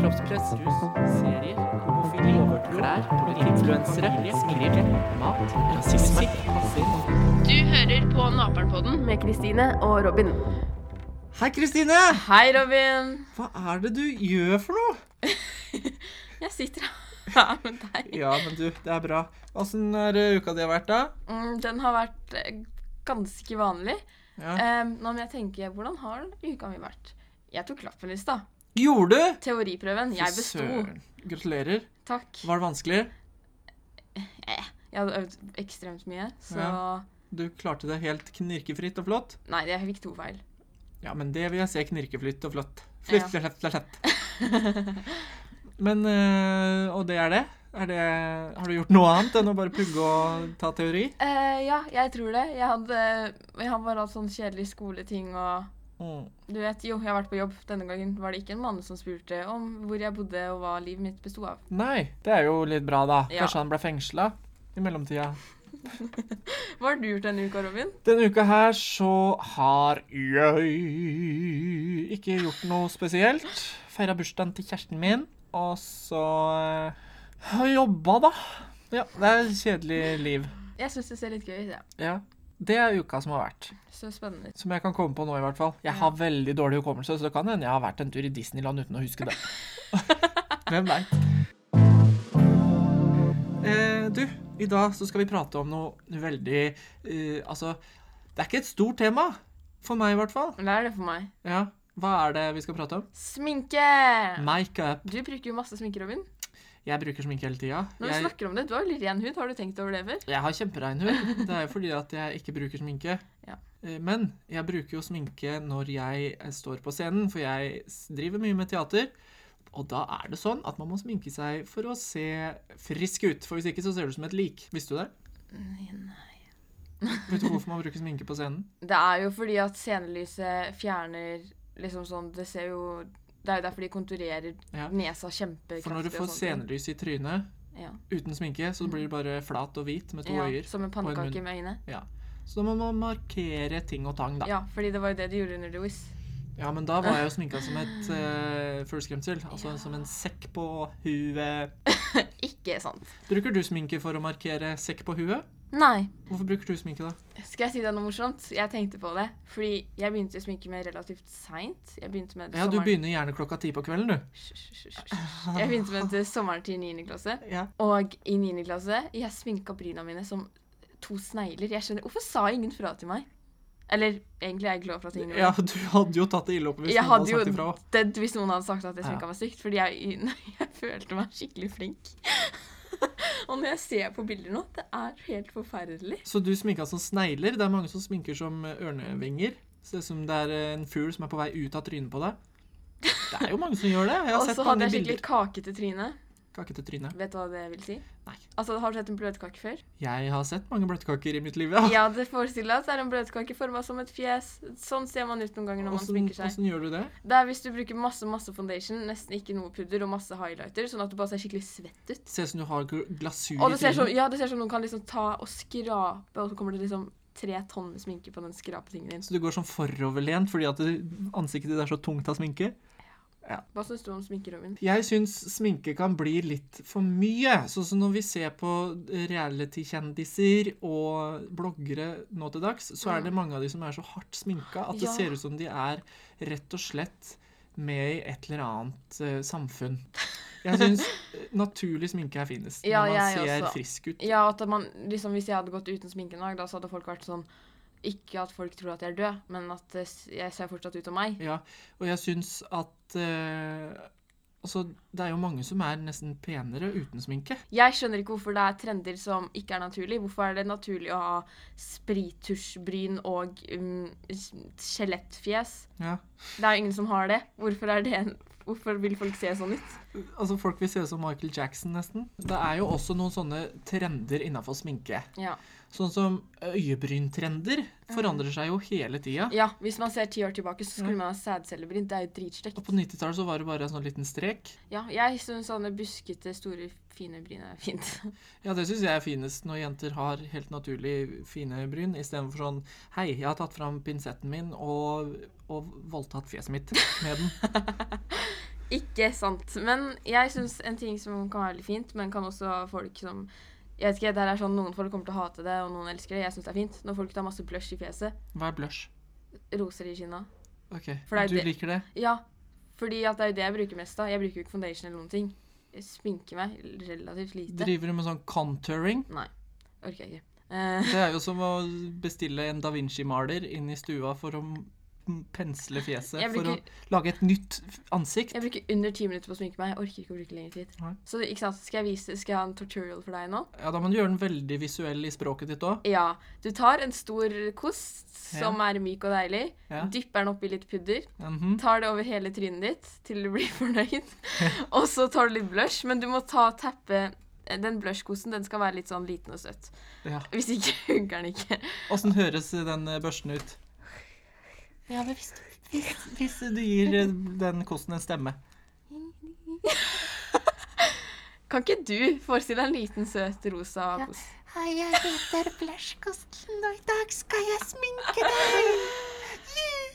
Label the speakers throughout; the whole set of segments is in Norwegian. Speaker 1: kroppspress, rus, serier, homofili, klær, influensere, skrill, mat, rasisme, passer.
Speaker 2: Du hører på Naperen-podden med Kristine og Robin.
Speaker 1: Hei, Kristine!
Speaker 2: Hei, Robin.
Speaker 1: Hva er det du gjør for noe?
Speaker 2: Jeg sitter her med deg.
Speaker 1: Ja, men du, det er bra. Åssen har eh, uka di vært, da?
Speaker 2: Mm, Den har vært eh, ganske vanlig.
Speaker 1: Ja.
Speaker 2: Eh, Nå må jeg tenke, hvordan har den uka mi vært? Jeg tok lappen i stad.
Speaker 1: Gjorde du?
Speaker 2: Teoriprøven. Jeg besto.
Speaker 1: Søren. Gratulerer.
Speaker 2: Takk.
Speaker 1: Var det vanskelig?
Speaker 2: Jeg hadde øvd ekstremt mye, så
Speaker 1: Ja. Du klarte det helt knirkefritt og flott?
Speaker 2: Nei, jeg fikk to feil.
Speaker 1: Ja, men det vil jeg se knirkeflytt og flott. Flytt, flett, flett, flett, Men eh, Og det er det? Er det? Har du gjort noe annet enn å bare pugge og ta teori?
Speaker 2: Eh, ja, jeg tror det. Jeg hadde, jeg har bare hatt sånn kjedelige skoleting og
Speaker 1: Mm.
Speaker 2: Du vet, jo, jeg har vært på jobb. Denne gangen var det ikke en mann som spurte om hvor jeg bodde og hva livet mitt bestod av.
Speaker 1: Nei, det er jo litt bra, da.
Speaker 2: Ja.
Speaker 1: Kanskje han ble fengsla i mellomtida.
Speaker 2: Hva har du gjort denne uka, Robin?
Speaker 1: Denne uka her så har jeg ikke gjort noe spesielt. Feira bursdagen til kjæresten min, og så eh, har jeg jobba, da. Ja, det er et kjedelig liv.
Speaker 2: Jeg syns det ser litt gøy ut. Ja.
Speaker 1: Ja. Det er uka som har vært.
Speaker 2: Så spennende.
Speaker 1: Som jeg kan komme på nå, i hvert fall. Jeg har veldig dårlig hukommelse, så det kan hende jeg har vært en tur i Disneyland uten å huske det. Hvem veit? Eh, du, i dag så skal vi prate om noe veldig eh, Altså, det er ikke et stort tema. For meg, i hvert fall.
Speaker 2: Hva er det for meg?
Speaker 1: Ja. Hva er det vi skal prate om?
Speaker 2: Sminke!
Speaker 1: Makeup.
Speaker 2: Du bruker jo masse sminke, Robin.
Speaker 1: Jeg bruker sminke hele tida.
Speaker 2: Når du
Speaker 1: Jeg,
Speaker 2: snakker om det, du har jo litt ren hud. Har du tenkt over det før?
Speaker 1: jeg har kjemperein hud. Det er jo fordi at jeg ikke bruker sminke.
Speaker 2: Ja.
Speaker 1: Eh, Men jeg bruker jo sminke når jeg eh, står på scenen, for jeg s- driver mye med teater. Og da er det sånn at man må sminke seg for å se frisk ut. For hvis ikke så ser du ut som et lik. Visste du det? Vet du hvorfor man bruker sminke på scenen?
Speaker 2: Det er jo fordi at scenelyset fjerner liksom sånn Det ser jo Det er jo derfor de konturerer
Speaker 1: Ja.
Speaker 2: nesa kjempekraftig.
Speaker 1: For når du
Speaker 2: og sånn,
Speaker 1: får
Speaker 2: sånne ting.
Speaker 1: scenelys i trynet
Speaker 2: Ja.
Speaker 1: uten sminke, så blir du bare flat og hvit med to
Speaker 2: ja,
Speaker 1: øyer.
Speaker 2: som en
Speaker 1: munn.
Speaker 2: pannekake med øyne.
Speaker 1: Ja. Så da må man markere ting og tang, da.
Speaker 2: Ja, fordi det var jo det du gjorde under The Wiz.
Speaker 1: Ja, men da var jeg jo sminka som et uh, fugleskremsel. Altså
Speaker 2: Ja.
Speaker 1: som en sekk på huet.
Speaker 2: Ikke sant.
Speaker 1: Bruker du sminke for å markere sekk på huet?
Speaker 2: Nei.
Speaker 1: Hvorfor bruker du sminke, da?
Speaker 2: Skal jeg si deg noe morsomt? Jeg tenkte på det. Fordi jeg begynte å sminke meg relativt seint. Jeg begynte med det
Speaker 1: Ja, Du
Speaker 2: sommeren-
Speaker 1: begynner gjerne klokka ti på kvelden, du.
Speaker 2: Hysj, hysj, hysj, hysj. Jeg begynte med det sommeren til 9. klasse.
Speaker 1: Ja.
Speaker 2: Og i 9. klasse jeg sminka bryna mine som to snegler. Jeg skjønner, Hvorfor sa ingen fra til meg? Eller egentlig er jeg glad for at ingen
Speaker 1: ja, du hadde jo tatt det ille opp hvis
Speaker 2: jeg
Speaker 1: noen
Speaker 2: hadde
Speaker 1: hadde
Speaker 2: jo
Speaker 1: sagt ifra.
Speaker 2: dødd hvis noen hadde sagt at jeg sminka
Speaker 1: Ja.
Speaker 2: meg stygt, fordi jeg, jeg følte meg skikkelig flink. og når jeg ser på bilder nå, det er helt forferdelig.
Speaker 1: Så du sminka som snegler. Det er mange som sminker som eh, ørnevinger. Ser ut som det er eh, en fugl som er på vei ut av trynet på deg. Det er jo mange som gjør det. Jeg har
Speaker 2: Og
Speaker 1: sett
Speaker 2: så hadde
Speaker 1: mange
Speaker 2: jeg
Speaker 1: bilder.
Speaker 2: skikkelig kakete tryne.
Speaker 1: Kakete tryne.
Speaker 2: Vet du hva det vil si?
Speaker 1: Nei.
Speaker 2: Altså, Har du sett en bløtkake før?
Speaker 1: Jeg har sett mange bløtkaker i mitt liv, ja.
Speaker 2: Jeg hadde forestilla at det er en bløtkake forma som et fjes. Sånn ser man ut noen ganger når man
Speaker 1: Åssen
Speaker 2: sminker seg.
Speaker 1: åssen gjør du det?
Speaker 2: Det er hvis du bruker masse masse foundation, nesten ikke noe pudder og masse highlighter, sånn at du bare ser skikkelig svett ut.
Speaker 1: Ser ut som du har gl- glasur
Speaker 2: Og det
Speaker 1: i
Speaker 2: ser sånn,
Speaker 1: trynet.
Speaker 2: ja, det ser sånn noen kan liksom ta og skrape, og så kommer det liksom tre tonn med sminke på den skrapetingen din.
Speaker 1: Så du går sånn foroverlent fordi at du- ansiktet ditt er så tungt av sminke?
Speaker 2: Hva syns du om sminkerommen?
Speaker 1: Jeg syns sminke kan bli litt for mye. Sånn som når vi ser på reality-kjendiser og bloggere nå til dags, så er det mange av de som er så hardt sminka at det
Speaker 2: Ja.
Speaker 1: ser ut som de er rett og slett med i et eller annet eh, samfunn. Jeg syns eh, naturlig sminke er finest.
Speaker 2: Ja,
Speaker 1: når man
Speaker 2: jeg
Speaker 1: ser
Speaker 2: også.
Speaker 1: frisk ut.
Speaker 2: Ja, at man, liksom Hvis jeg hadde gått uten sminke en dag, da, så hadde folk vært sånn Ikke at folk tror at jeg er død, men at eh, s- jeg ser fortsatt ut som meg.
Speaker 1: Ja, og jeg syns at eh, Altså, det er jo mange som er nesten penere uten sminke.
Speaker 2: Jeg skjønner ikke hvorfor det er trender som ikke er naturlig. Hvorfor er det naturlig å ha sprittusjbryn og um, s- skjelettfjes?
Speaker 1: Ja.
Speaker 2: Det er jo ingen som har det. Hvorfor, er det en, hvorfor vil folk se sånn ut?
Speaker 1: Altså, folk vil se ut som Michael Jackson, nesten. Det er jo også noen sånne trender innafor sminke.
Speaker 2: Ja.
Speaker 1: Sånn som øyebryntrender forandrer seg jo hele tida.
Speaker 2: ja, Hvis man ser ti år tilbake, så skulle man ha sædcellebrynt. Det er jo
Speaker 1: Og
Speaker 2: dritstygt.
Speaker 1: på 90-tallet så var det bare en sånn liten strek.
Speaker 2: Ja, jeg syns sånne buskete, store, fine bryn er fint.
Speaker 1: Ja, det syns jeg er finest når jenter har helt naturlig fine bryn, istedenfor sånn Hei, jeg har tatt fram pinsetten min og, og voldtatt fjeset mitt med den.
Speaker 2: Ikke sant. Men jeg syns en ting som kan være veldig fint, men kan også ha folk som jeg vet ikke, det her er sånn Noen folk kommer til å hate det, og noen elsker det. Jeg syns det er fint. Når folk tar masse blush i fjeset.
Speaker 1: Hva er blush?
Speaker 2: Roser i kinna.
Speaker 1: Ok,
Speaker 2: For det er
Speaker 1: Du
Speaker 2: det-
Speaker 1: liker det?
Speaker 2: Ja, fordi at det er jo det jeg bruker mest av. Jeg bruker jo ikke foundation eller noen ting. Jeg sminker meg relativt lite.
Speaker 1: Driver du med sånn contouring?
Speaker 2: Orker jeg ikke. Eh,
Speaker 1: Det er jo som å bestille en da Vinci-maler inn i stua for å m- pensle fjeset.
Speaker 2: Jeg
Speaker 1: For
Speaker 2: bruker-
Speaker 1: å lage et nytt f- ansikt.
Speaker 2: jeg bruker under ti minutter på å sminke meg. Jeg orker ikke å bruke lengre tid.
Speaker 1: Nei.
Speaker 2: Så ikke sant, skal jeg vise, skal jeg ha en tutorial for deg nå?
Speaker 1: Ja, Da må du gjøre den veldig visuell i språket ditt òg.
Speaker 2: Ja. Du tar en stor kost som er myk og deilig,
Speaker 1: Ja.
Speaker 2: dypper den oppi litt pudder,
Speaker 1: Mhm.
Speaker 2: tar det over hele trynet ditt til du blir fornøyd, og så tar du litt blush, men du må ta tappe eh, Den blushkosten den skal være litt sånn liten og søt.
Speaker 1: ja.
Speaker 2: Hvis ikke funker den ikke.
Speaker 1: Åssen høres den eh, børsten ut? Ja, men hvis, du gir eh, den kosten en stemme.
Speaker 2: Kan ikke du forestille deg en liten, søt rosa
Speaker 3: Ja.
Speaker 2: kos?
Speaker 3: Hei, jeg heter Blæsjkosten, og i dag skal jeg sminke deg.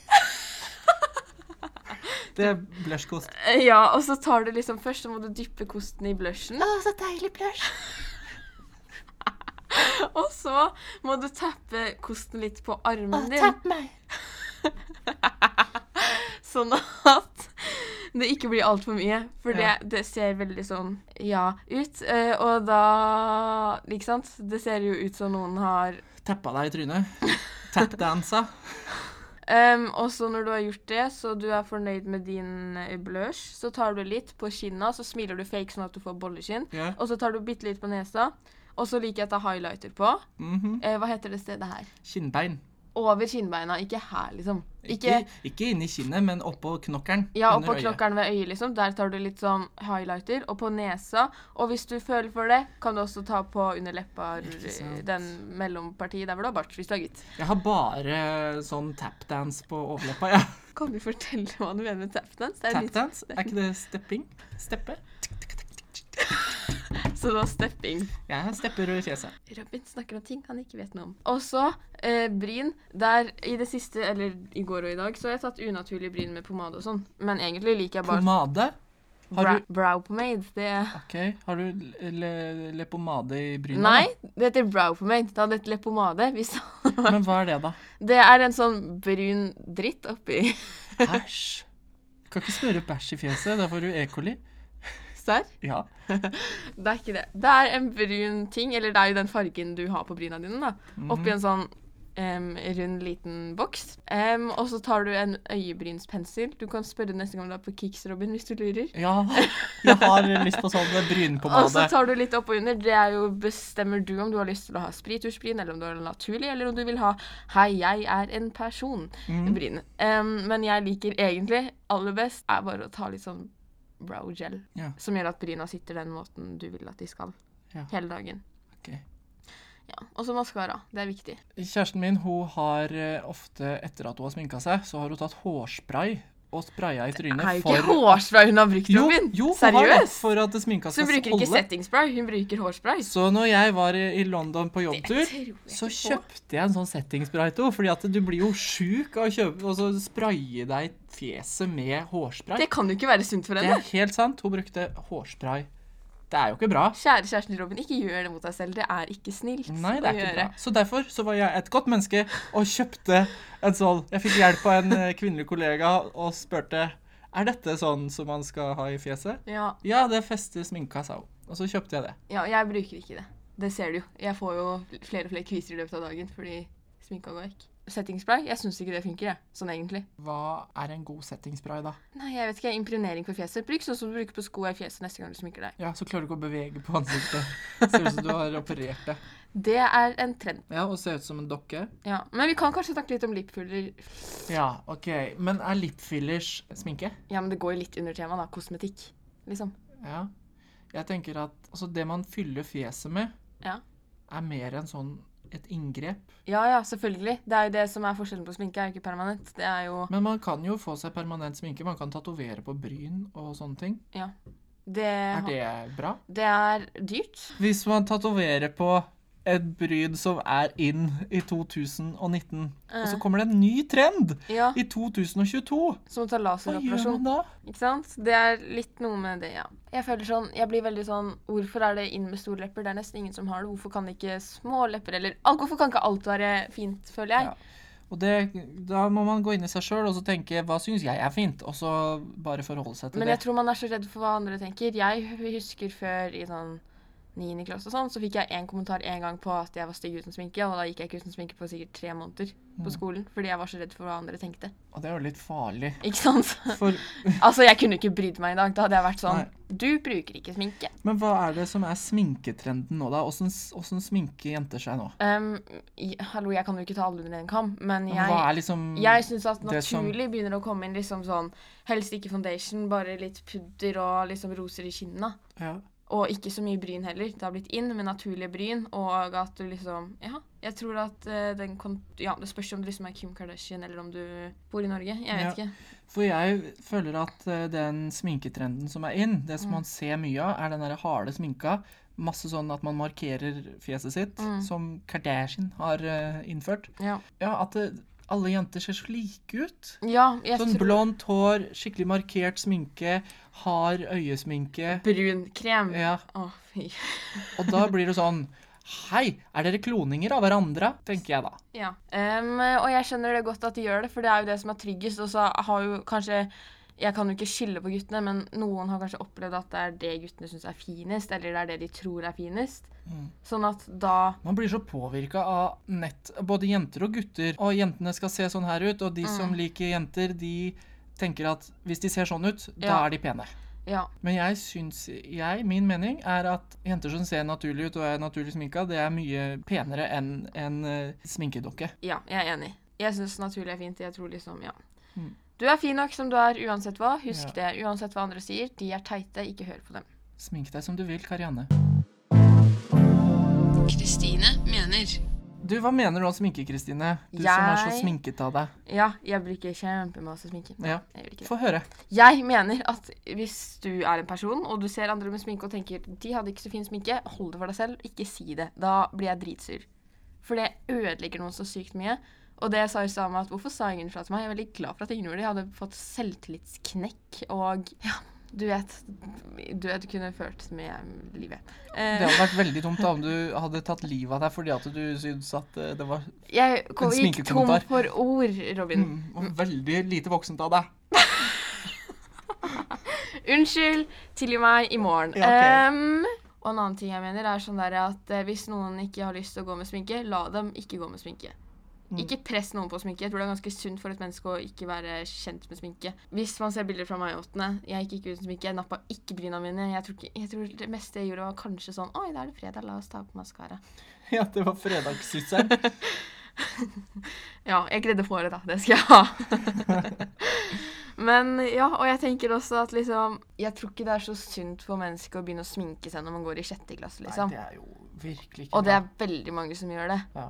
Speaker 1: Det er blushkost.
Speaker 2: Eh, Ja, og så tar du liksom først, så må du dyppe kosten i blushen,
Speaker 3: Å, så deilig blæsj.
Speaker 2: og så må du tappe kosten litt på
Speaker 3: Å,
Speaker 2: armen din,
Speaker 3: tapp meg.
Speaker 2: sånn at det ikke blir altfor mye, for det,
Speaker 1: Ja.
Speaker 2: det ser veldig sånn ja ut, eh, og da, ikke sant, det ser jo ut som noen har
Speaker 1: Tappa deg i trynet. Tapdansa.
Speaker 2: Ehm, og så når du har gjort det, så du er fornøyd med din eh, blush, så tar du litt på kinna, så smiler du fake sånn at du får bolleskinn,
Speaker 1: Ja.
Speaker 2: og så tar du bitte litt på nesa, og så liker jeg å ta highlighter på.
Speaker 1: Mhm.
Speaker 2: Eh, hva heter det stedet her?
Speaker 1: Kinnbein.
Speaker 2: Over kinnbeina, ikke her, liksom. Ikke,
Speaker 1: Ikke, ikke inni kinnet, men oppå knokkelen.
Speaker 2: ja,
Speaker 1: under
Speaker 2: oppå
Speaker 1: øyet.
Speaker 2: klokkeren ved øyet, liksom. Der tar du litt sånn highlighter, og på nesa. Og hvis du føler for det, kan du også ta på under leppa,
Speaker 1: Ikke sant.
Speaker 2: den mellompartiet der hvor du har bart, hvis du har gitt.
Speaker 1: Jeg har bare sånn tapdance på overleppa. Ja.
Speaker 2: Kan du fortelle hva du mener med tapdance? Det er litt-
Speaker 1: Tapdance, er ikke det stepping? Steppe?
Speaker 2: Så det var sånn stepping.
Speaker 1: Jeg stepper i fjeset.
Speaker 2: Robin snakker om ting han ikke vet noe om. Og så eh, bryn. Der i det siste, eller i går og i dag, så har jeg tatt unaturlig bryn med pomade og sånn. Men egentlig liker jeg bare
Speaker 1: Pomade? Har
Speaker 2: bra
Speaker 1: du,
Speaker 2: brow pomade. Det
Speaker 1: ok, har du le, leppepomade i bryna? da?
Speaker 2: Nei, det heter brow pomade. Det hadde hett leppepomade. hvis-
Speaker 1: Men hva er det, da?
Speaker 2: Det er en sånn brun dritt oppi
Speaker 1: Æsj. Du kan ikke smøre bæsj i fjeset. Da får du E. coli.
Speaker 2: Serr?
Speaker 1: Ja.
Speaker 2: Det er ikke det. Det er en brun ting, eller det er jo den fargen du har på bryna dine, da. Oppi en sånn em, rund, liten boks. Em, og så tar du en øyebrynspensel. Du kan spørre neste gang du er på Kicks, Robin, hvis du lurer.
Speaker 1: Ja, jeg har lyst på sånn
Speaker 2: Og så
Speaker 1: brynpomade.
Speaker 2: tar du litt opp og under. Det er jo bestemmer du om du har lyst til å ha sprittusjbryn, eller om du har naturlig, eller om du vil ha 'hei, jeg er en
Speaker 1: Mm.
Speaker 2: person'-bryn. men jeg liker egentlig aller best er bare å ta litt sånn brow gel,
Speaker 1: Ja.
Speaker 2: som gjør at bryna sitter den måten du vil at de skal
Speaker 1: Ja.
Speaker 2: hele dagen.
Speaker 1: Ok.
Speaker 2: Ja. Og så maskara. Det er viktig.
Speaker 1: Kjæresten min hun har eh, ofte, etter at hun har sminka seg, så har hun tatt hårspray og spraya i
Speaker 2: Det er
Speaker 1: trynet
Speaker 2: jo ikke hårspray hun har brukt,
Speaker 1: Jo,
Speaker 2: Robin!
Speaker 1: jo, hun har det,
Speaker 2: Seriøst!
Speaker 1: for at sminka
Speaker 2: Så
Speaker 1: skal
Speaker 2: hun bruker ikke
Speaker 1: holde.
Speaker 2: settingspray, hun bruker hårspray.
Speaker 1: Så når jeg var i i London på jobbtur,
Speaker 2: tror jeg
Speaker 1: så
Speaker 2: ikke på.
Speaker 1: kjøpte jeg en sånn settingspray til henne. Fordi at du blir jo sjuk av å kjøpe og så spraye deg fjeset med hårspray.
Speaker 2: Det kan jo ikke være sunt for
Speaker 1: Det
Speaker 2: henne.
Speaker 1: er helt sant. Hun brukte hårspray. Det er jo ikke bra.
Speaker 2: Kjære kjæresten Robin, ikke gjør det mot deg selv. Det er ikke snilt
Speaker 1: Nei, det
Speaker 2: å
Speaker 1: er ikke bra.
Speaker 2: gjøre.
Speaker 1: Så derfor så var jeg et godt menneske og kjøpte en sånn Jeg fikk hjelp av en eh, kvinnelig kollega og spurte er dette sånn som man skal ha i fjeset.
Speaker 2: Ja,
Speaker 1: Ja, det fester sminka, sa hun. Og så kjøpte jeg det.
Speaker 2: ja, jeg bruker ikke det. Det ser du jo. Jeg får jo flere og flere kviser i løpet av dagen fordi sminka går vekk. Settingspray? Jeg syns ikke det funker, jeg. Sånn egentlig.
Speaker 1: Hva er en god settingspray, da?
Speaker 2: Nei, jeg vet ikke. Impregnering på fjeset. Bruk sånn som du bruker på skoa i fjeset neste gang du sminker deg.
Speaker 1: Ja, så klarer du ikke å bevege på ansiktet. Ser ut som du har operert det.
Speaker 2: Det er en trend.
Speaker 1: Ja, og ser ut som en dokke.
Speaker 2: Ja. Men vi kan kanskje snakke litt om lipfugler.
Speaker 1: Ja, OK. Men er lipfillers sminke?
Speaker 2: Ja, men det går jo litt under temaet, da. Kosmetikk. Liksom.
Speaker 1: Ja. Jeg tenker at altså, det man fyller fjeset med,
Speaker 2: Ja.
Speaker 1: er mer enn sånn et inngrep.
Speaker 2: Ja ja, selvfølgelig. Det er jo det som er forskjellen på sminke, er jo ikke permanent. Det er jo
Speaker 1: Men man kan jo få seg permanent sminke. Man kan tatovere på bryn og sånne ting.
Speaker 2: Ja. Det,
Speaker 1: Er det bra?
Speaker 2: det er dyrt.
Speaker 1: Hvis man tatoverer på et bryd som er inn i 2019. Og
Speaker 2: Eh.
Speaker 1: så kommer det en ny trend
Speaker 2: Ja,
Speaker 1: i 2022.
Speaker 2: som å ta
Speaker 1: Hva gjør man
Speaker 2: laseroperasjon.
Speaker 1: da?
Speaker 2: Ikke sant? Det er litt noe med det, ja. Jeg føler sånn, jeg blir veldig sånn Hvorfor er det inn med store lepper? Det er nesten ingen som har det. Hvorfor kan ikke små lepper eller al- Hvorfor kan ikke alt være fint, føler jeg?
Speaker 1: Ja. Og det, da må man gå inn i seg sjøl og så tenke hva syns jeg er fint, og så bare forholde seg til
Speaker 2: Men
Speaker 1: det.
Speaker 2: jeg tror man er så redd for hva andre tenker. Jeg husker før i sånn 9. klasse og sånn, så fikk jeg en kommentar en gang på at jeg var stygg uten sminke, og da gikk jeg ikke uten sminke på sikkert tre måneder
Speaker 1: Mm.
Speaker 2: på skolen fordi jeg var så redd for hva andre tenkte.
Speaker 1: Og det er jo litt farlig.
Speaker 2: Ikke sant?
Speaker 1: For,
Speaker 2: Altså, jeg kunne ikke brydd meg i dag. Da hadde jeg vært sånn
Speaker 1: Nei.
Speaker 2: Du bruker ikke sminke.
Speaker 1: men hva er det som er sminketrenden nå, da? Åssen åssen sminke jenter seg nå?
Speaker 2: Um, i, hallo, jeg kan jo ikke ta alle under en kam, men
Speaker 1: Men hva
Speaker 2: jeg,
Speaker 1: er liksom
Speaker 2: jeg syns at
Speaker 1: det som-
Speaker 2: naturlig begynner å komme inn liksom sånn Helst ikke foundation, bare litt pudder og liksom roser i kinnene.
Speaker 1: ja.
Speaker 2: Og ikke så mye bryn heller. Det har blitt inn med naturlige bryn, og at du liksom Ja, jeg tror at eh, den kon... Ja, det spørs om du liksom er Kim Kardashian, eller om du bor i Norge. Jeg vet
Speaker 1: Ja.
Speaker 2: ikke.
Speaker 1: For jeg føler at eh, den sminketrenden som er inn,
Speaker 2: Mm.
Speaker 1: det som man ser mye av, er den der harde sminka. Masse sånn at man markerer fjeset sitt,
Speaker 2: Mm.
Speaker 1: som Kardashian har eh, innført.
Speaker 2: Ja,
Speaker 1: Ja, at eh, alle jenter ser så like ut.
Speaker 2: ja jeg
Speaker 1: Sånn
Speaker 2: tror
Speaker 1: blondt hår, skikkelig markert sminke, hard øyesminke.
Speaker 2: Brun krem. Å,
Speaker 1: Ja,
Speaker 2: fy.
Speaker 1: og da blir det sånn Hei, er dere kloninger av hverandre? tenker jeg da.
Speaker 2: Ja. Em, og jeg skjønner det godt at de gjør det, for det er jo det som er tryggest. Og så har jo kanskje Jeg kan jo ikke skille på guttene, men noen har kanskje opplevd at det er det guttene syns er finest, eller det er det de tror er finest.
Speaker 1: Mm.
Speaker 2: Sånn at da
Speaker 1: Man blir så påvirka av nett, både jenter og gutter. Og jentene skal se sånn her ut, og de som
Speaker 2: Mm.
Speaker 1: liker jenter, de tenker at hvis de ser sånn ut, da
Speaker 2: Ja.
Speaker 1: er de pene.
Speaker 2: Ja.
Speaker 1: Men jeg syns jeg, min mening er at jenter som ser naturlig ut og er naturlig sminka, det er mye penere enn en eh, sminkedokke.
Speaker 2: Ja, jeg er enig. Jeg syns naturlig er fint. Jeg tror liksom Ja.
Speaker 1: Mm.
Speaker 2: Du er fin nok som du er uansett hva. Husk
Speaker 1: Ja.
Speaker 2: det. Uansett hva andre sier, de er teite. Ikke hør på dem.
Speaker 1: Smink deg som du vil, Karianne.
Speaker 2: Kristine mener
Speaker 1: Du, hva mener du om sminke, Kristine? Du som er så
Speaker 2: Jeg-
Speaker 1: sminket av deg.
Speaker 2: Ja, jeg bruker kjempemasse sminke.
Speaker 1: Ja.
Speaker 2: Jeg gjør ikke det.
Speaker 1: Få høre.
Speaker 2: Jeg mener at hvis du er en person, og du ser andre med sminke og tenker de hadde ikke så fin sminke, hold det for deg selv, ikke si det. Da blir jeg dritsur. For det ødelegger noen så sykt mye. Og det sa jo Sama at hvorfor sa ingen fra til meg? Jeg er veldig glad for at ingen gjorde det. Jeg hadde fått selvtillitsknekk og ja, du vet. Død kunne ført med livet.
Speaker 1: Det
Speaker 2: Eh,
Speaker 1: hadde vært veldig dumt da om du hadde tatt livet av deg fordi at du syntes at eh, det var
Speaker 2: jeg kom, gikk tom
Speaker 1: sminkekommentar.
Speaker 2: for ord, Robin.
Speaker 1: mm, var veldig lite voksent av deg.
Speaker 2: Unnskyld, tilgi meg i morgen.
Speaker 1: Ja, ok.
Speaker 2: Em, og en annen ting jeg mener er sånn der at eh, hvis noen ikke har lyst til å gå med sminke, la dem ikke gå med sminke.
Speaker 1: Mm.
Speaker 2: Ikke press noen på sminke. Jeg tror det er ganske sunt for et menneske å ikke være kjent med sminke. Hvis man ser bilder fra meg i åttende Jeg gikk ikke uten sminke. Jeg nappa ikke bryna mine. Jeg tror, ikke, jeg tror det meste jeg gjorde, var kanskje sånn Oi, da er det fredag. La oss ta på maskara.
Speaker 1: Ja, det var fredagssyssel.
Speaker 2: Ja, jeg gledde håret, da. Det skal jeg ha. Men ja, og jeg tenker også at liksom Jeg tror ikke det er så sunt for mennesker å begynne å sminke seg når man går i sjette klasse,
Speaker 1: Nei,
Speaker 2: liksom.
Speaker 1: det er jo virkelig ikke
Speaker 2: Og det er veldig mange som gjør det.
Speaker 1: Ja.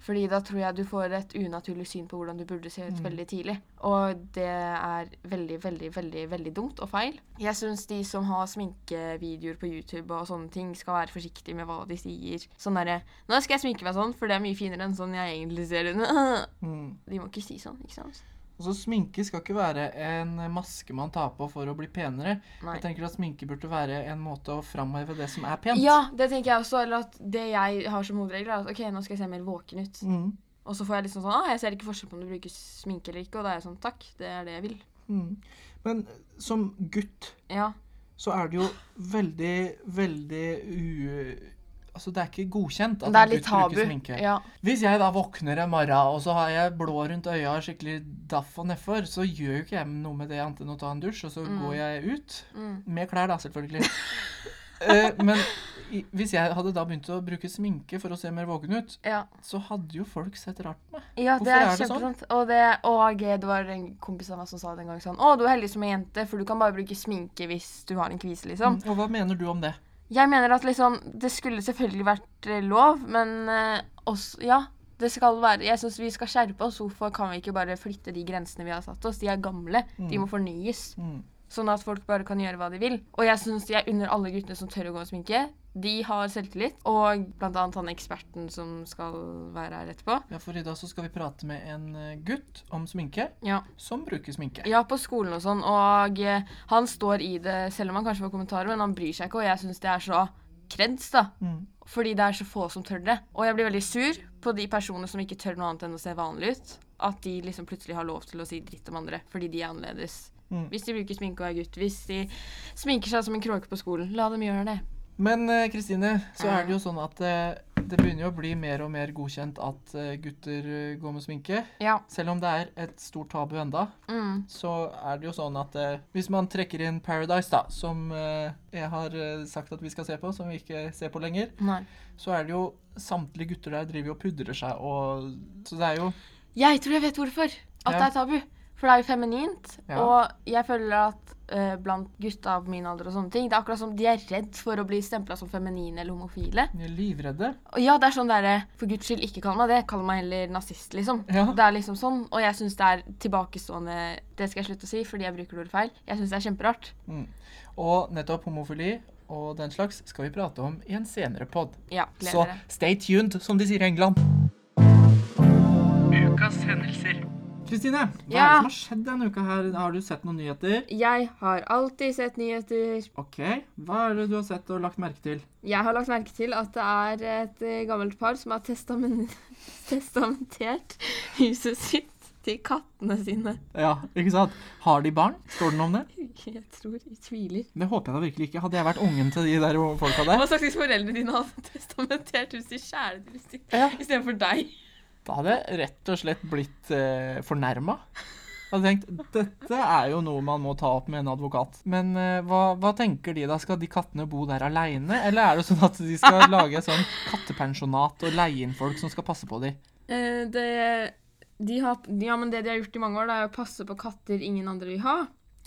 Speaker 2: Fordi da tror jeg du får et unaturlig syn på hvordan du burde se ut
Speaker 1: Mm.
Speaker 2: veldig tidlig. Og det er veldig, veldig, veldig veldig dumt og feil. Jeg syns de som har sminkevideoer på YouTube og sånne ting, skal være forsiktige med hva de sier. Sånn derre 'Nå skal jeg sminke meg sånn, for det er mye finere enn sånn jeg egentlig ser ut.'
Speaker 1: Mm.
Speaker 2: De må ikke si sånn, ikke sant?
Speaker 1: Og så Sminke skal ikke være en maske man tar på for å bli penere.
Speaker 2: Nei.
Speaker 1: Jeg tenker at Sminke burde være en måte å framheve det som er pent.
Speaker 2: Ja, det tenker jeg også. Eller at det jeg har som hovedregel, er at OK, nå skal jeg se mer våken ut.
Speaker 1: Mm.
Speaker 2: Og så får jeg liksom sånn ah, jeg ser ikke forskjell på om du bruker sminke eller ikke. Og da er jeg sånn takk, det er det jeg vil.
Speaker 1: Mm. Men som gutt
Speaker 2: Ja.
Speaker 1: så er det jo veldig, veldig u... Altså, det er ikke godkjent at
Speaker 2: det er
Speaker 1: en
Speaker 2: litt
Speaker 1: gutt bruker
Speaker 2: tabu.
Speaker 1: sminke.
Speaker 2: Ja.
Speaker 1: Hvis jeg da våkner en morgen, og så har jeg blå rundt øya og skikkelig daff og nedfor, så gjør jo ikke jeg noe med det annet enn å ta en dusj, og så går jeg ut.
Speaker 2: Mm.
Speaker 1: Med klær, da, selvfølgelig. Eh, men i, hvis jeg hadde da begynt å bruke sminke for å se mer våken ut,
Speaker 2: Ja.
Speaker 1: så hadde jo folk sett rart på meg.
Speaker 2: ja,
Speaker 1: Hvorfor
Speaker 2: det er,
Speaker 1: er det sånn?
Speaker 2: kjempesant. Og, det, og eh, det var en kompis av meg som sa det en gang sånn Å, du er heldig som er jente, for du kan bare bruke sminke hvis du har en kvise, liksom.
Speaker 1: Mm, Og hva mener du om det?
Speaker 2: Jeg mener at liksom Det skulle selvfølgelig vært eh, lov, men eh, også Ja. Det skal være, jeg syns vi skal skjerpe oss. Hvorfor kan vi ikke bare flytte de grensene vi har satt oss? De er gamle. De må fornyes.
Speaker 1: Mm.
Speaker 2: Sånn at folk bare kan gjøre hva de vil. Og jeg syns jeg unner alle guttene som tør å gå med sminke. De har selvtillit. Og blant annet han eksperten som skal være her etterpå.
Speaker 1: Ja, for i dag så skal vi prate med en eh, gutt om sminke
Speaker 2: Ja.
Speaker 1: som bruker sminke.
Speaker 2: Ja, på skolen og sånn. Og eh, han står i det, selv om han kanskje får kommentarer, men han bryr seg ikke. Og jeg syns det er så kreds, da.
Speaker 1: Mm.
Speaker 2: Fordi det er så få som tør det. Og jeg blir veldig sur på de personene som ikke tør noe annet enn å se vanlig ut. At de liksom plutselig har lov til å si dritt om andre fordi de er annerledes.
Speaker 1: Mm.
Speaker 2: Hvis de bruker sminke og er gutt. Hvis de sminker seg som en kråke på skolen. La dem gjøre det.
Speaker 1: Men eh, Kristine, så er det jo sånn at eh, det begynner jo å bli mer og mer godkjent at eh, gutter eh, går med sminke.
Speaker 2: Ja.
Speaker 1: Selv om det er et stort tabu enda,
Speaker 2: Mm.
Speaker 1: så er det jo sånn at eh, hvis man trekker inn Paradise, da, som eh, jeg har eh, sagt at vi skal se på, som vi ikke ser på lenger,
Speaker 2: Nei.
Speaker 1: så er det jo samtlige gutter der driver jo og pudrer seg og Så det er jo
Speaker 2: Jeg tror jeg vet hvorfor. At
Speaker 1: Ja.
Speaker 2: det er tabu. For det er jo feminint.
Speaker 1: Ja.
Speaker 2: Og jeg føler at eh, blant gutta av min alder og sånne ting, det er akkurat som de er redd for å bli stempla som feminine eller homofile.
Speaker 1: de er livredde.
Speaker 2: Og ja, det er sånn derre For guds skyld, ikke kall meg det. Kall meg heller nazist, liksom.
Speaker 1: Ja.
Speaker 2: Det er liksom sånn. Og jeg syns det er tilbakestående Det skal jeg slutte å si, fordi jeg bruker ordet feil. Jeg syns det er kjemperart.
Speaker 1: Mm. Og nettopp homofili og den slags skal vi prate om i en senere pod.
Speaker 2: Ja,
Speaker 1: Så
Speaker 2: gleder dere.
Speaker 1: stay tuned, som de sier i England. Ukas hendelser. Kristine, hva er
Speaker 2: Ja.
Speaker 1: det som har skjedd denne uka her? Har du sett noen nyheter?
Speaker 2: Jeg har alltid sett nyheter.
Speaker 1: Ok, hva er det du har sett og lagt merke til?
Speaker 2: Jeg har lagt merke til at det er et eh, gammelt par som har testamen- testamentert huset sitt til kattene sine.
Speaker 1: Ja, ikke sant? Har de barn? Står det noe om det?
Speaker 2: Jeg tror jeg tviler.
Speaker 1: Det håper jeg da virkelig ikke. Hadde jeg vært ungen til de der folka der,
Speaker 2: Hva slags hvis foreldrene dine hadde testamentert huset til kjæledyret sitt
Speaker 1: Ja.
Speaker 2: istedenfor deg?
Speaker 1: da hadde jeg rett og slett blitt eh, fornærma. Jeg hadde tenkt dette er jo noe man må ta opp med en advokat. Men eh, hva, hva tenker de da? Skal de kattene bo der aleine? Eller er det sånn at de skal lage et sånn kattepensjonat og leie inn folk som skal passe på de?
Speaker 2: Eh, det, de har, ja, men det de har gjort i mange år, det er å passe på katter ingen andre vil ha.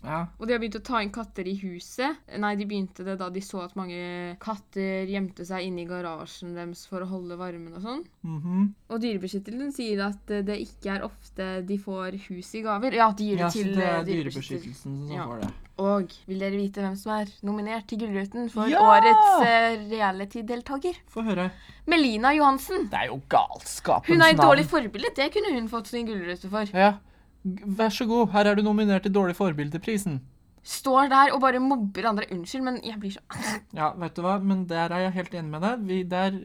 Speaker 1: Ja.
Speaker 2: Og de har begynt å ta inn katter i huset. Nei, de begynte det da de så at mange katter gjemte seg inne i garasjen deres for å holde varmen og sånn.
Speaker 1: mhm.
Speaker 2: Og Dyrebeskyttelsen sier at eh, det ikke er ofte de får hus i gaver. Ja, at de gir det
Speaker 1: ja, så
Speaker 2: til
Speaker 1: det er
Speaker 2: eh, dyrebeskytter.
Speaker 1: Dyrebeskyttelsen som
Speaker 2: Ja.
Speaker 1: får det.
Speaker 2: Og vil dere vite hvem som er nominert til Gullruten for
Speaker 1: Ja!
Speaker 2: årets eh, reality-deltaker?
Speaker 1: Få høre.
Speaker 2: Melina Johansen.
Speaker 1: Det er jo galskapens
Speaker 2: Hun er et
Speaker 1: navn.
Speaker 2: dårlig forbilde. Det kunne hun fått sin gullrute for.
Speaker 1: Ja. G- Vær så god, her er du nominert til Dårlig forbildeprisen.
Speaker 2: Står der og bare mobber andre. Unnskyld, men jeg blir så
Speaker 1: Ja, vet du hva, men der er jeg helt enig med deg. Vi, der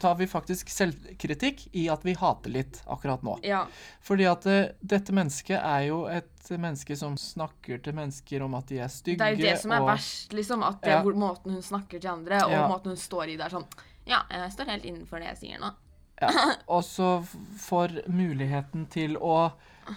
Speaker 1: tar vi faktisk selvkritikk i at vi hater litt akkurat nå.
Speaker 2: Ja.
Speaker 1: Fordi at eh, dette mennesket er jo et menneske som snakker til mennesker om at de er stygge.
Speaker 2: Det er jo det som er
Speaker 1: og-
Speaker 2: verst, liksom. At det
Speaker 1: Ja.
Speaker 2: er hvor- måten hun snakker til andre, og
Speaker 1: Ja.
Speaker 2: måten hun står i der sånn Ja, jeg står helt innenfor det jeg sier nå.
Speaker 1: Og så f- får muligheten til å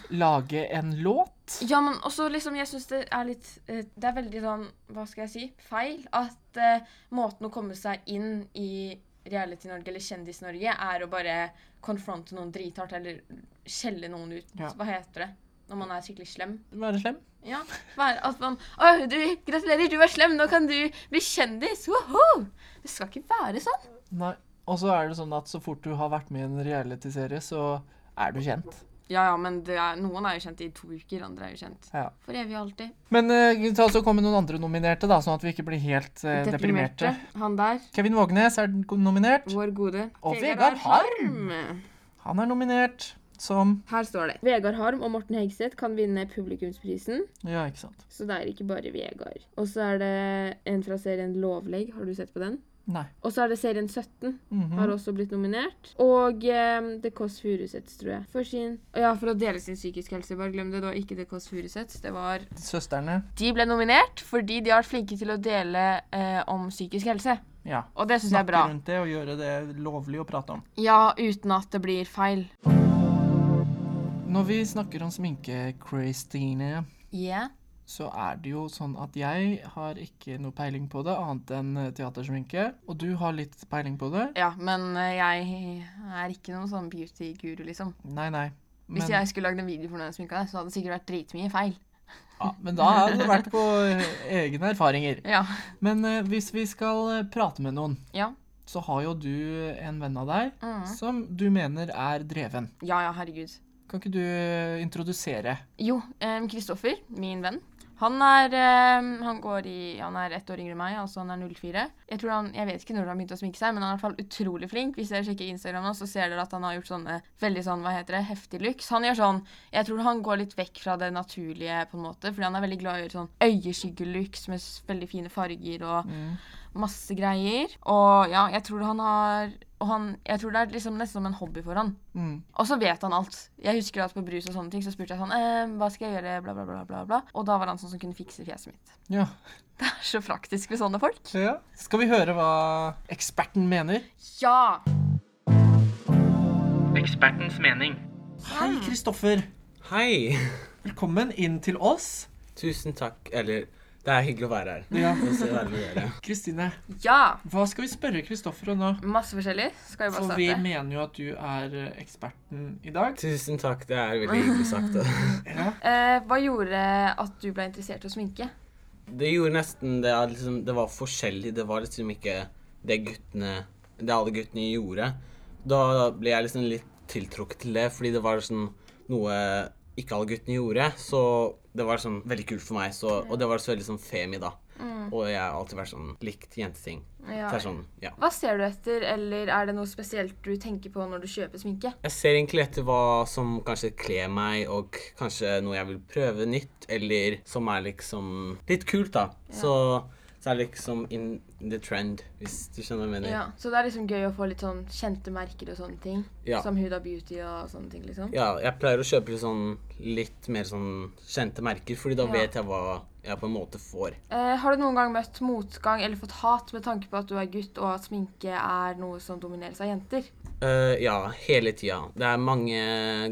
Speaker 1: lage en låt.
Speaker 2: Ja, men også liksom, jeg syns det er litt eh, Det er veldig sånn, hva skal jeg si, feil at eh, måten å komme seg inn i Reality-Norge eller Kjendis-Norge er å bare confronte noen drithardt eller skjelle noen ut.
Speaker 1: Ja.
Speaker 2: Hva heter det når man er skikkelig slem?
Speaker 1: Være slem.
Speaker 2: Ja, vær, at man Å, du, gratulerer, du er slem, nå kan du bli kjendis! Woho! Det skal ikke være sånn.
Speaker 1: Nei. Og så er det sånn at så fort du har vært med i en realityserie, så er du kjent.
Speaker 2: Ja, ja, men det er, noen er jo kjent i to uker, andre er jo kjent
Speaker 1: Ja.
Speaker 2: for evig og alltid.
Speaker 1: Men eh, ta så kom med noen andre nominerte, da, sånn at vi ikke blir helt eh, deprimerte.
Speaker 2: Han der,
Speaker 1: Kevin Vågenes er nominert.
Speaker 2: vår gode
Speaker 1: Og Vegard Harm. Han er nominert som
Speaker 2: Her står det Vegard Harm og Morten Hegseth kan vinne publikumsprisen,
Speaker 1: Ja, ikke sant.
Speaker 2: så det er ikke bare Vegard. Og så er det en fra serien Lovlegg, har du sett på den?
Speaker 1: Nei.
Speaker 2: Og så er det serien 17,
Speaker 1: Mhm.
Speaker 2: har også blitt nominert. Og eh, The Kåss Furuseths, tror jeg. For sin Ja, for å dele sin psykiske helse, bare glem det. Det var ikke The Kåss Furuseths, det var
Speaker 1: Søstrene.
Speaker 2: De ble nominert fordi de har vært flinke til å dele eh, om psykisk helse.
Speaker 1: Ja.
Speaker 2: Og det syns jeg er
Speaker 1: Snakke
Speaker 2: bra.
Speaker 1: rundt det og gjøre det lovlig å prate om.
Speaker 2: Ja, uten at det blir feil.
Speaker 1: Når vi snakker om sminke, Christine,
Speaker 2: Yeah.
Speaker 1: så er det jo sånn at jeg har ikke noe peiling på det, annet enn eh, teatersminke. Og du har litt peiling på det?
Speaker 2: Ja, men eh, jeg er ikke noen sånn beauty-guru, liksom.
Speaker 1: Nei, nei.
Speaker 2: Hvis jeg skulle lagd en video for noen jeg sminka, så hadde det sikkert vært dritmye feil.
Speaker 1: ja, men da har det vært på eh, egne erfaringer.
Speaker 2: Ja.
Speaker 1: Men eh, hvis vi skal eh, prate med noen,
Speaker 2: Ja.
Speaker 1: så har jo du en venn av deg
Speaker 2: Mm.
Speaker 1: som du mener er dreven.
Speaker 2: Ja, ja, herregud.
Speaker 1: Kan ikke du eh, introdusere?
Speaker 2: Jo, em, Kristoffer, min venn, Han er, eh, han går i, han er ett år yngre enn meg, altså han er 04. Jeg, tror han, jeg vet ikke når han begynte å sminke seg, men han er i hvert fall utrolig flink. Hvis dere sjekker Instagram nå, så ser dere at han har gjort sånne veldig sånn, hva heter det, heftig looks. Han gjør sånn, jeg tror han går litt vekk fra det naturlige på en måte, fordi han er veldig glad i å gjøre sånn øyeskyggelooks med s- veldig fine farger og masse greier. Og ja, jeg tror han har, og han, jeg tror det er liksom nesten som en hobby for han.
Speaker 1: Mm.
Speaker 2: Og så vet han alt. Jeg husker at på brus og sånne ting så spurte jeg sånn ehm, Hva skal jeg gjøre? Bla, bla, bla, bla, bla. Og da var han sånn som kunne fikse fjeset mitt.
Speaker 1: Ja.
Speaker 2: Det er så praktisk med sånne folk.
Speaker 1: ja. Skal vi høre hva eksperten mener?
Speaker 2: Ja!
Speaker 4: Ekspertens mening.
Speaker 1: Hei, Kristoffer.
Speaker 4: Hei.
Speaker 1: Velkommen inn til oss.
Speaker 4: Tusen takk. Eller, det er hyggelig å være her.
Speaker 1: Ja.
Speaker 4: Og se være med dere.
Speaker 1: Kristine,
Speaker 2: Ja!
Speaker 1: hva skal vi spørre Kristoffer om nå?
Speaker 2: Masse forskjellig. Skal vi bare
Speaker 1: For vi
Speaker 2: starte?
Speaker 1: mener jo at du er eh, eksperten i dag.
Speaker 4: Tusen takk. Det er veldig hyggelig sagt. da.
Speaker 1: Ja.
Speaker 2: Eh, hva gjorde at du ble interessert i å sminke?
Speaker 4: Det gjorde nesten det at liksom, Det var forskjellig. Det var liksom ikke det guttene Det alle guttene gjorde. Da ble jeg liksom litt tiltrukket til det, fordi det var sånn noe ikke alle guttene gjorde. Så det var sånn veldig kult for meg. Så, og det var så veldig sånn femi, da. Og jeg har alltid vært sånn likt jenteting.
Speaker 2: Ja.
Speaker 4: Så det er sånn, ja.
Speaker 2: Hva ser du etter, eller er det noe spesielt du tenker på når du kjøper sminke?
Speaker 4: Jeg ser egentlig etter hva som kanskje kler meg, og kanskje noe jeg vil prøve nytt, eller som er liksom litt kult, da. Så, så er det liksom in the trend, hvis du skjønner hva jeg mener.
Speaker 2: Ja, Så det er liksom gøy å få litt sånn kjente merker og sånne ting?
Speaker 4: Ja.
Speaker 2: Som Huda Beauty og sånne ting, liksom?
Speaker 4: Ja, jeg pleier å kjøpe litt sånn litt mer sånn kjente merker, fordi da
Speaker 2: Ja.
Speaker 4: vet jeg hva jeg på en måte får.
Speaker 2: Eh, har du noen gang møtt motgang eller fått hat med tanke på at du er gutt, og at sminke er noe som domineres av jenter?
Speaker 4: Eh, ja, hele tida. Det er mange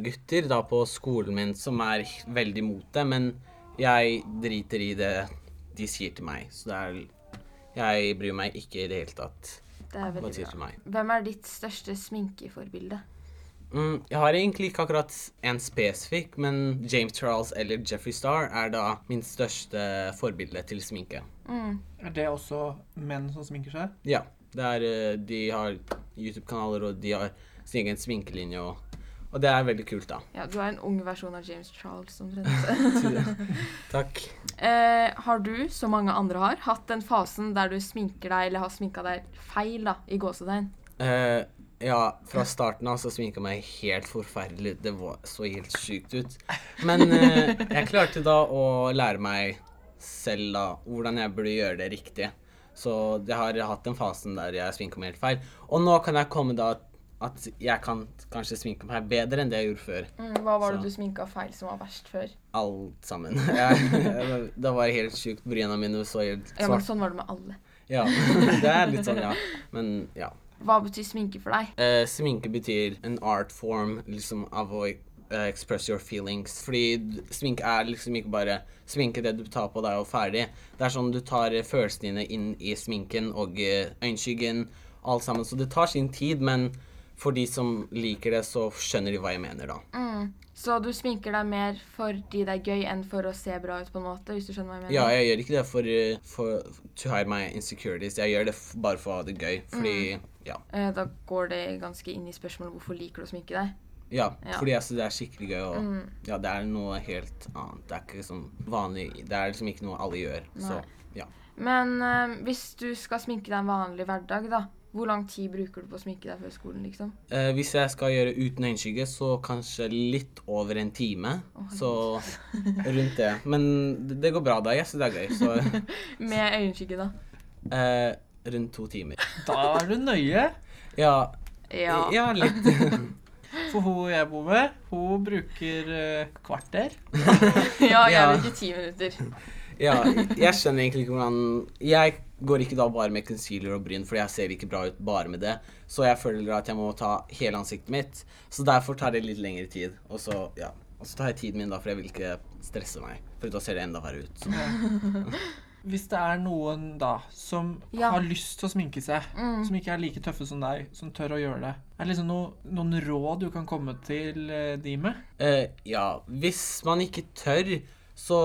Speaker 4: gutter da på skolen min som er h- veldig mot det, men jeg driter i det de sier til meg. Så det er Jeg bryr meg ikke i det hele tatt
Speaker 2: Det er
Speaker 4: hva de
Speaker 2: veldig
Speaker 4: sier til
Speaker 2: bra.
Speaker 4: meg.
Speaker 2: Hvem er ditt største sminkeforbilde?
Speaker 4: Mm, jeg har egentlig ikke akkurat en spesifikk, men James Charles eller Jeffrey Star er da min største forbilde til sminke.
Speaker 1: Er det også menn som sminker seg?
Speaker 4: Ja. Det er, eh, de har YouTube-kanaler, og de har sin egen sminkelinje, og, og det er veldig kult, da.
Speaker 2: Ja, Du er en ung versjon av James Charles. omtrent.
Speaker 4: Takk.
Speaker 2: eh, har du, som mange andre har, hatt den fasen der du sminker deg, eller har sminka deg feil, da, i gåsetegn?
Speaker 4: Eh, ja, fra starten av så sminka jeg meg helt forferdelig. Det var, så helt sykt ut. Men eh, jeg klarte da å lære meg selv da hvordan jeg burde gjøre det riktig. Så jeg har hatt den fasen der jeg sminka meg helt feil. Og nå kan jeg komme da at jeg kan kanskje sminke meg bedre enn det jeg gjorde før.
Speaker 2: Mm, hva var
Speaker 4: Så.
Speaker 2: det du sminka feil som var verst før?
Speaker 4: Alt sammen. Jeg, det var helt sjukt. Bryna mine så helt
Speaker 2: Ja, men
Speaker 4: svart.
Speaker 2: Sånn var det med alle.
Speaker 4: Ja, det er litt sånn, ja. Men ja.
Speaker 2: Hva betyr sminke for deg?
Speaker 4: Eh, sminke betyr en art form liksom, av å eh, express your feelings. Fordi d- sminke er liksom ikke bare sminke det du tar på deg og ferdig. Det er sånn du tar eh, følelsene dine inn i sminken og eh, øyenskyggen, alt sammen. Så det tar sin tid, men for de som liker det, så skjønner de hva jeg mener, da.
Speaker 2: Mm. Så du sminker deg mer fordi det er gøy enn for å se bra ut, på en måte? hvis du skjønner hva jeg mener?
Speaker 4: Ja, jeg gjør ikke det for, eh, for to hide my insecurities. Jeg gjør det f bare for å ha det gøy. Fordi ja.
Speaker 2: Eh, Da går det ganske inn i spørsmålet hvorfor liker du å sminke deg. Ja.
Speaker 4: Ja,
Speaker 2: Mm.
Speaker 4: fordi altså, det er skikkelig gøy, og ja, det er noe helt annet. Det er ikke liksom vanlig Det er liksom ikke noe alle gjør. Så
Speaker 2: Nei.
Speaker 4: ja.
Speaker 2: Men eh, hvis du skal sminke deg en vanlig hverdag, da, hvor lang tid bruker du på å sminke deg før skolen, liksom?
Speaker 4: Eh, hvis jeg skal gjøre uten øyenskygge, så kanskje litt over en time. så rundt det. Men det, det går bra da, jeg syns det er gøy. Så
Speaker 2: Med øyenskygge, da.
Speaker 4: eh, rundt to timer.
Speaker 1: Da er du nøye.
Speaker 4: Ja,
Speaker 2: Ja.
Speaker 4: ja litt.
Speaker 1: For hun jeg bor med, hun bruker eh, kvarter.
Speaker 2: ja jeg
Speaker 4: Ja.
Speaker 2: bruker ti minutter.
Speaker 4: Ja, jeg skjønner egentlig ikke hvordan Jeg går ikke da bare med concealer og bryn, Fordi jeg ser ikke bra ut bare med det. Så jeg føler at jeg må ta hele ansiktet mitt. Så derfor tar det litt lengre tid. Og så, ja. Og så tar jeg tiden min, da, for jeg vil ikke stresse meg. For da ser det enda verre ut. Så.
Speaker 1: Hvis det er noen da som
Speaker 2: Ja.
Speaker 1: har lyst til å sminke seg,
Speaker 5: Mm.
Speaker 1: som ikke er like tøffe som deg, som tør å gjøre det, er det liksom noe, noen råd du kan komme til eh, de med?
Speaker 4: Eh, ja, hvis man ikke tør, så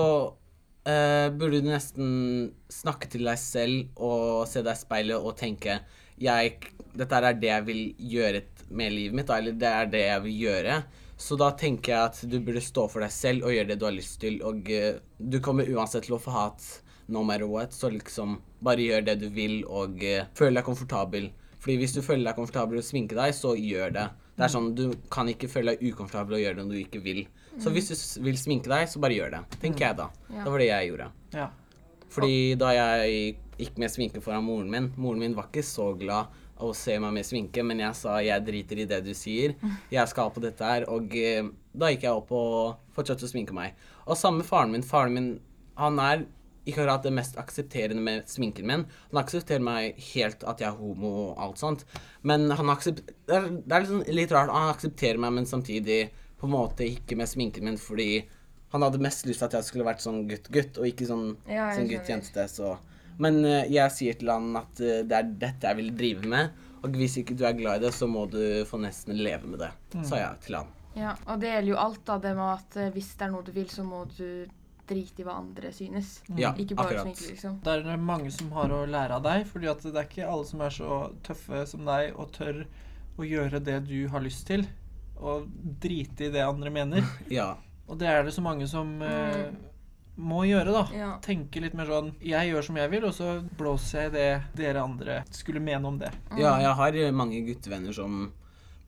Speaker 4: eh, burde du nesten snakke til deg selv og se deg i speilet og tenke jeg, Dette er det jeg vil gjøre et- med livet mitt, da, eller det er det jeg vil gjøre. Så da tenker jeg at du burde stå for deg selv og gjøre det du har lyst til. Og eh, du kommer uansett til å få hat no matter what, så liksom bare gjør det du vil og eh, føl deg komfortabel. Fordi hvis du føler deg komfortabel og sminke deg, så gjør det. Det er sånn, Du kan ikke føle deg ukomfortabel og gjøre det når du ikke vil. Så hvis du s- vil sminke deg, så bare gjør det. Tenker jeg da.
Speaker 2: Mm. Ja.
Speaker 4: Det var det jeg gjorde.
Speaker 5: Ja.
Speaker 4: Fordi da jeg gikk med sminke foran moren min Moren min var ikke så glad av å se meg med sminke, men jeg sa jeg driter i det du sier. Jeg skal på dette her. Og eh, da gikk jeg opp og fortsatte å sminke meg. Og samme faren min. Faren min han er ikke akkurat det mest aksepterende med sminken min. Han aksepterer meg helt at jeg er homo og alt sånt. Men han aksep- det er, det er liksom litt rart. Han aksepterer meg, men samtidig på en måte ikke med sminken min fordi han hadde mest lyst til at jeg skulle vært sånn gutt-gutt, og ikke sånn,
Speaker 2: Ja, jeg
Speaker 4: sånn
Speaker 2: skjønner.
Speaker 4: gutt-jente. Så. Men eh, jeg sier til han at eh, det er dette jeg vil drive med, og hvis ikke du er glad i det, så må du få nesten leve med det, sa jeg til han.
Speaker 2: Ja, og det gjelder jo alt, da. Det med at eh, hvis det er noe du vil, så må du drite i hva andre synes.
Speaker 4: Ja,
Speaker 2: Ikke bare
Speaker 4: akkurat.
Speaker 2: sminke, liksom.
Speaker 5: Det er mange som har å lære av deg, fordi at det er ikke alle som er så tøffe som deg og tør å gjøre det du har lyst til, og drite i det andre mener.
Speaker 4: Ja,
Speaker 5: Og det er det så mange som eh, må gjøre, da.
Speaker 2: Ja.
Speaker 5: Tenke litt mer sånn Jeg gjør som jeg vil, og så blåser jeg i det dere andre skulle mene om det.
Speaker 4: ja jeg har eh, mange guttevenner som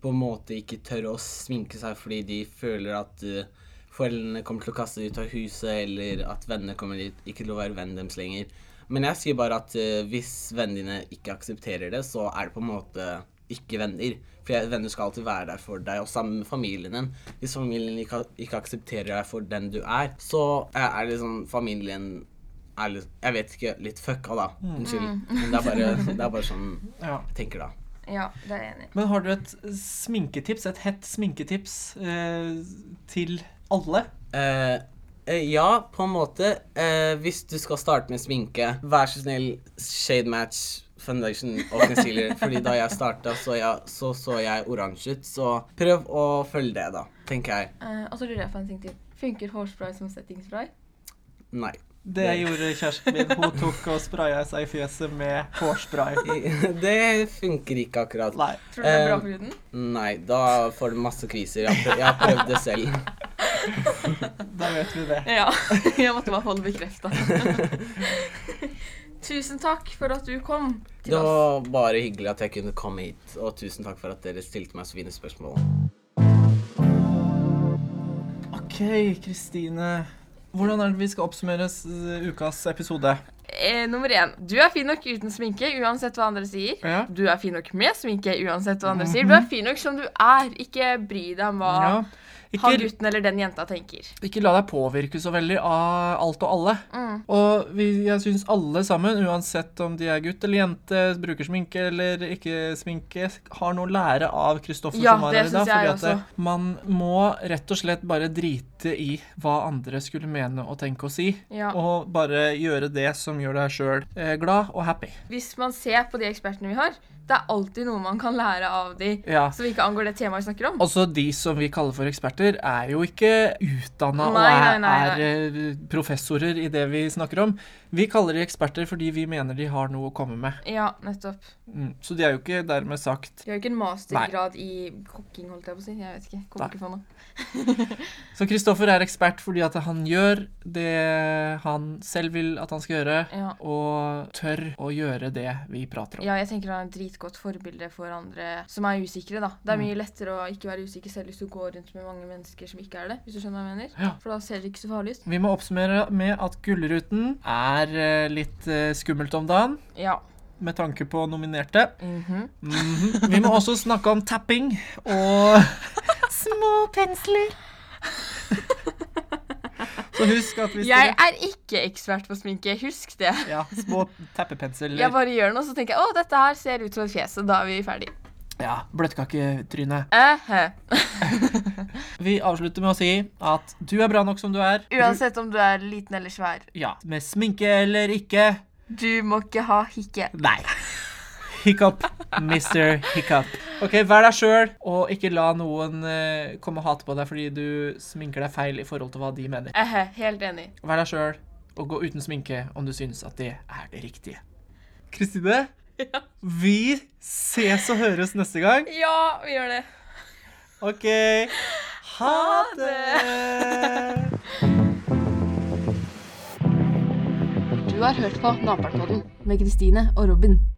Speaker 4: på en måte ikke tør å sminke seg fordi de føler at eh, foreldrene kommer til å kaste dem ut av huset, eller at vennene kommer dit, ikke til å være vennen deres lenger. Men jeg sier bare at eh, hvis vennene dine ikke aksepterer det, så er det på en måte ikke venner. For jeg- venner skal alltid være der for deg, og sammen med familien din. Hvis familien ikke, ikke aksepterer deg for den du er, så eh, er det sånn familien er litt, Jeg vet ikke, litt fucka, da. Unnskyld. Men det er bare, det er bare sånn
Speaker 5: Ja.
Speaker 4: jeg tenker, da.
Speaker 2: Ja, det er jeg enig i.
Speaker 5: Men har du et sminketips, et hett sminketips eh, til alle?
Speaker 4: Eh, eh, ja, på en måte. Eh, hvis du skal starte med sminke, vær så snill, shade match, foundation og concealer. fordi da jeg starta, så, jeg- så så jeg oransje ut. Så prøv å følge det, da, tenker jeg.
Speaker 2: Eh, og så lurer jeg på en ting til. Funker hårspray som settingspray?
Speaker 4: Nei.
Speaker 5: Det
Speaker 4: Nei.
Speaker 5: gjorde kjæresten min. Hun tok og spraya seg i fjeset med hårspray.
Speaker 4: Det funker ikke akkurat.
Speaker 5: Nei.
Speaker 2: Tror du det er bra
Speaker 4: Eh,
Speaker 2: for huden?
Speaker 4: Nei, da får du masse kviser. Jeg har prøvd, jeg har prøvd det selv.
Speaker 5: Da vet vi det.
Speaker 2: Ja. Jeg måtte bare få det bekrefta. Tusen takk for at du kom
Speaker 4: Det
Speaker 2: til oss.
Speaker 4: var bare hyggelig at jeg kunne komme hit, og tusen takk for at dere stilte meg så fine spørsmål.
Speaker 5: OK, Kristine. Hvordan er det vi skal oppsummere s- ukas episode?
Speaker 2: Eh, nummer én. Du er fin nok uten sminke, uansett hva andre sier.
Speaker 5: Ja. Mhm.
Speaker 2: Du er fin nok med sminke, uansett hva andre sier. Du er fin nok som du er. Ikke bry deg om hva
Speaker 5: Ja.
Speaker 2: han
Speaker 5: Ikke,
Speaker 2: gutten eller den jenta tenker.
Speaker 5: ikke la deg påvirke så veldig av alt og alle.
Speaker 2: Mm.
Speaker 5: Og vi, jeg syns alle sammen, uansett om de er gutt eller jente, bruker sminke eller ikke sminke, har noe å lære av Kristoffer
Speaker 2: Ja,
Speaker 5: som var
Speaker 2: det
Speaker 5: her i dag.
Speaker 2: synes jeg
Speaker 5: fordi at det- man må rett og slett bare drite i hva andre skulle mene og tenke og si.
Speaker 2: Ja.
Speaker 5: Og bare gjøre det som gjør deg sjøl eh, glad og happy.
Speaker 2: Hvis man ser på de ekspertene vi har, det er alltid noe man kan lære av de
Speaker 5: Ja.
Speaker 2: som ikke angår det temaet vi snakker om.
Speaker 5: Også Altså, de som vi kaller for eksperter, er jo ikke utdanna og
Speaker 2: Nei,
Speaker 5: er,
Speaker 2: nei, nei,
Speaker 5: er eh, professorer i det vi snakker om. Vi kaller de eksperter fordi vi mener de har noe å komme med.
Speaker 2: Ja, nettopp.
Speaker 5: Mm. Så de er jo ikke dermed sagt
Speaker 2: De har jo ikke en mastergrad i kokking, holdt jeg på å si. Jeg vet ikke. Kommer
Speaker 5: Nei.
Speaker 2: ikke på noe.
Speaker 5: Så Kristoffer er ekspert fordi at han gjør det han selv vil at han skal gjøre,
Speaker 2: Ja.
Speaker 5: og tør å gjøre det vi prater om.
Speaker 2: Ja, jeg tenker han er et dritgodt forbilde for andre som er usikre, da. Det er mye lettere å ikke være usikker selv hvis du går rundt med mange mennesker som ikke er det, hvis du skjønner hva jeg mener.
Speaker 5: Ja.
Speaker 2: For da ser det ikke så farlig ut.
Speaker 5: Vi må oppsummere med at Gullruten er eh, litt eh, skummelt om dagen,
Speaker 2: Ja.
Speaker 5: med tanke på nominerte.
Speaker 2: Mhm.
Speaker 5: Mhm. Vi må også snakke om tapping og
Speaker 6: Små pensler.
Speaker 5: Så husk at hvis
Speaker 2: Jeg
Speaker 5: dere
Speaker 2: er ikke ekspert på sminke, husk det.
Speaker 5: Ja, små tappepensel.
Speaker 2: Jeg bare gjør noe, så tenker jeg å, dette her ser ut som et fjes, og da er vi ferdig.
Speaker 5: Ja, bløtkaketryne.
Speaker 2: Ehe.
Speaker 5: Vi avslutter med å si at du er bra nok som du er.
Speaker 2: Uansett om du er liten eller svær,
Speaker 5: Ja, Med sminke eller ikke.
Speaker 2: du må ikke ha hikke.
Speaker 5: Nei. Hiccup, Mr. Hiccup. Ok, Vær deg sjøl, og ikke la noen eh, komme og hate på deg fordi du sminker deg feil i forhold til hva de mener.
Speaker 2: Ehe, helt enig.
Speaker 5: Vær deg sjøl, og gå uten sminke om du syns at det er det riktige. Kristine, vi ses og høres neste gang.
Speaker 2: Ja, vi gjør det.
Speaker 5: OK. Ha det!
Speaker 7: Du har hørt på Naperpodden med Kristine og Robin.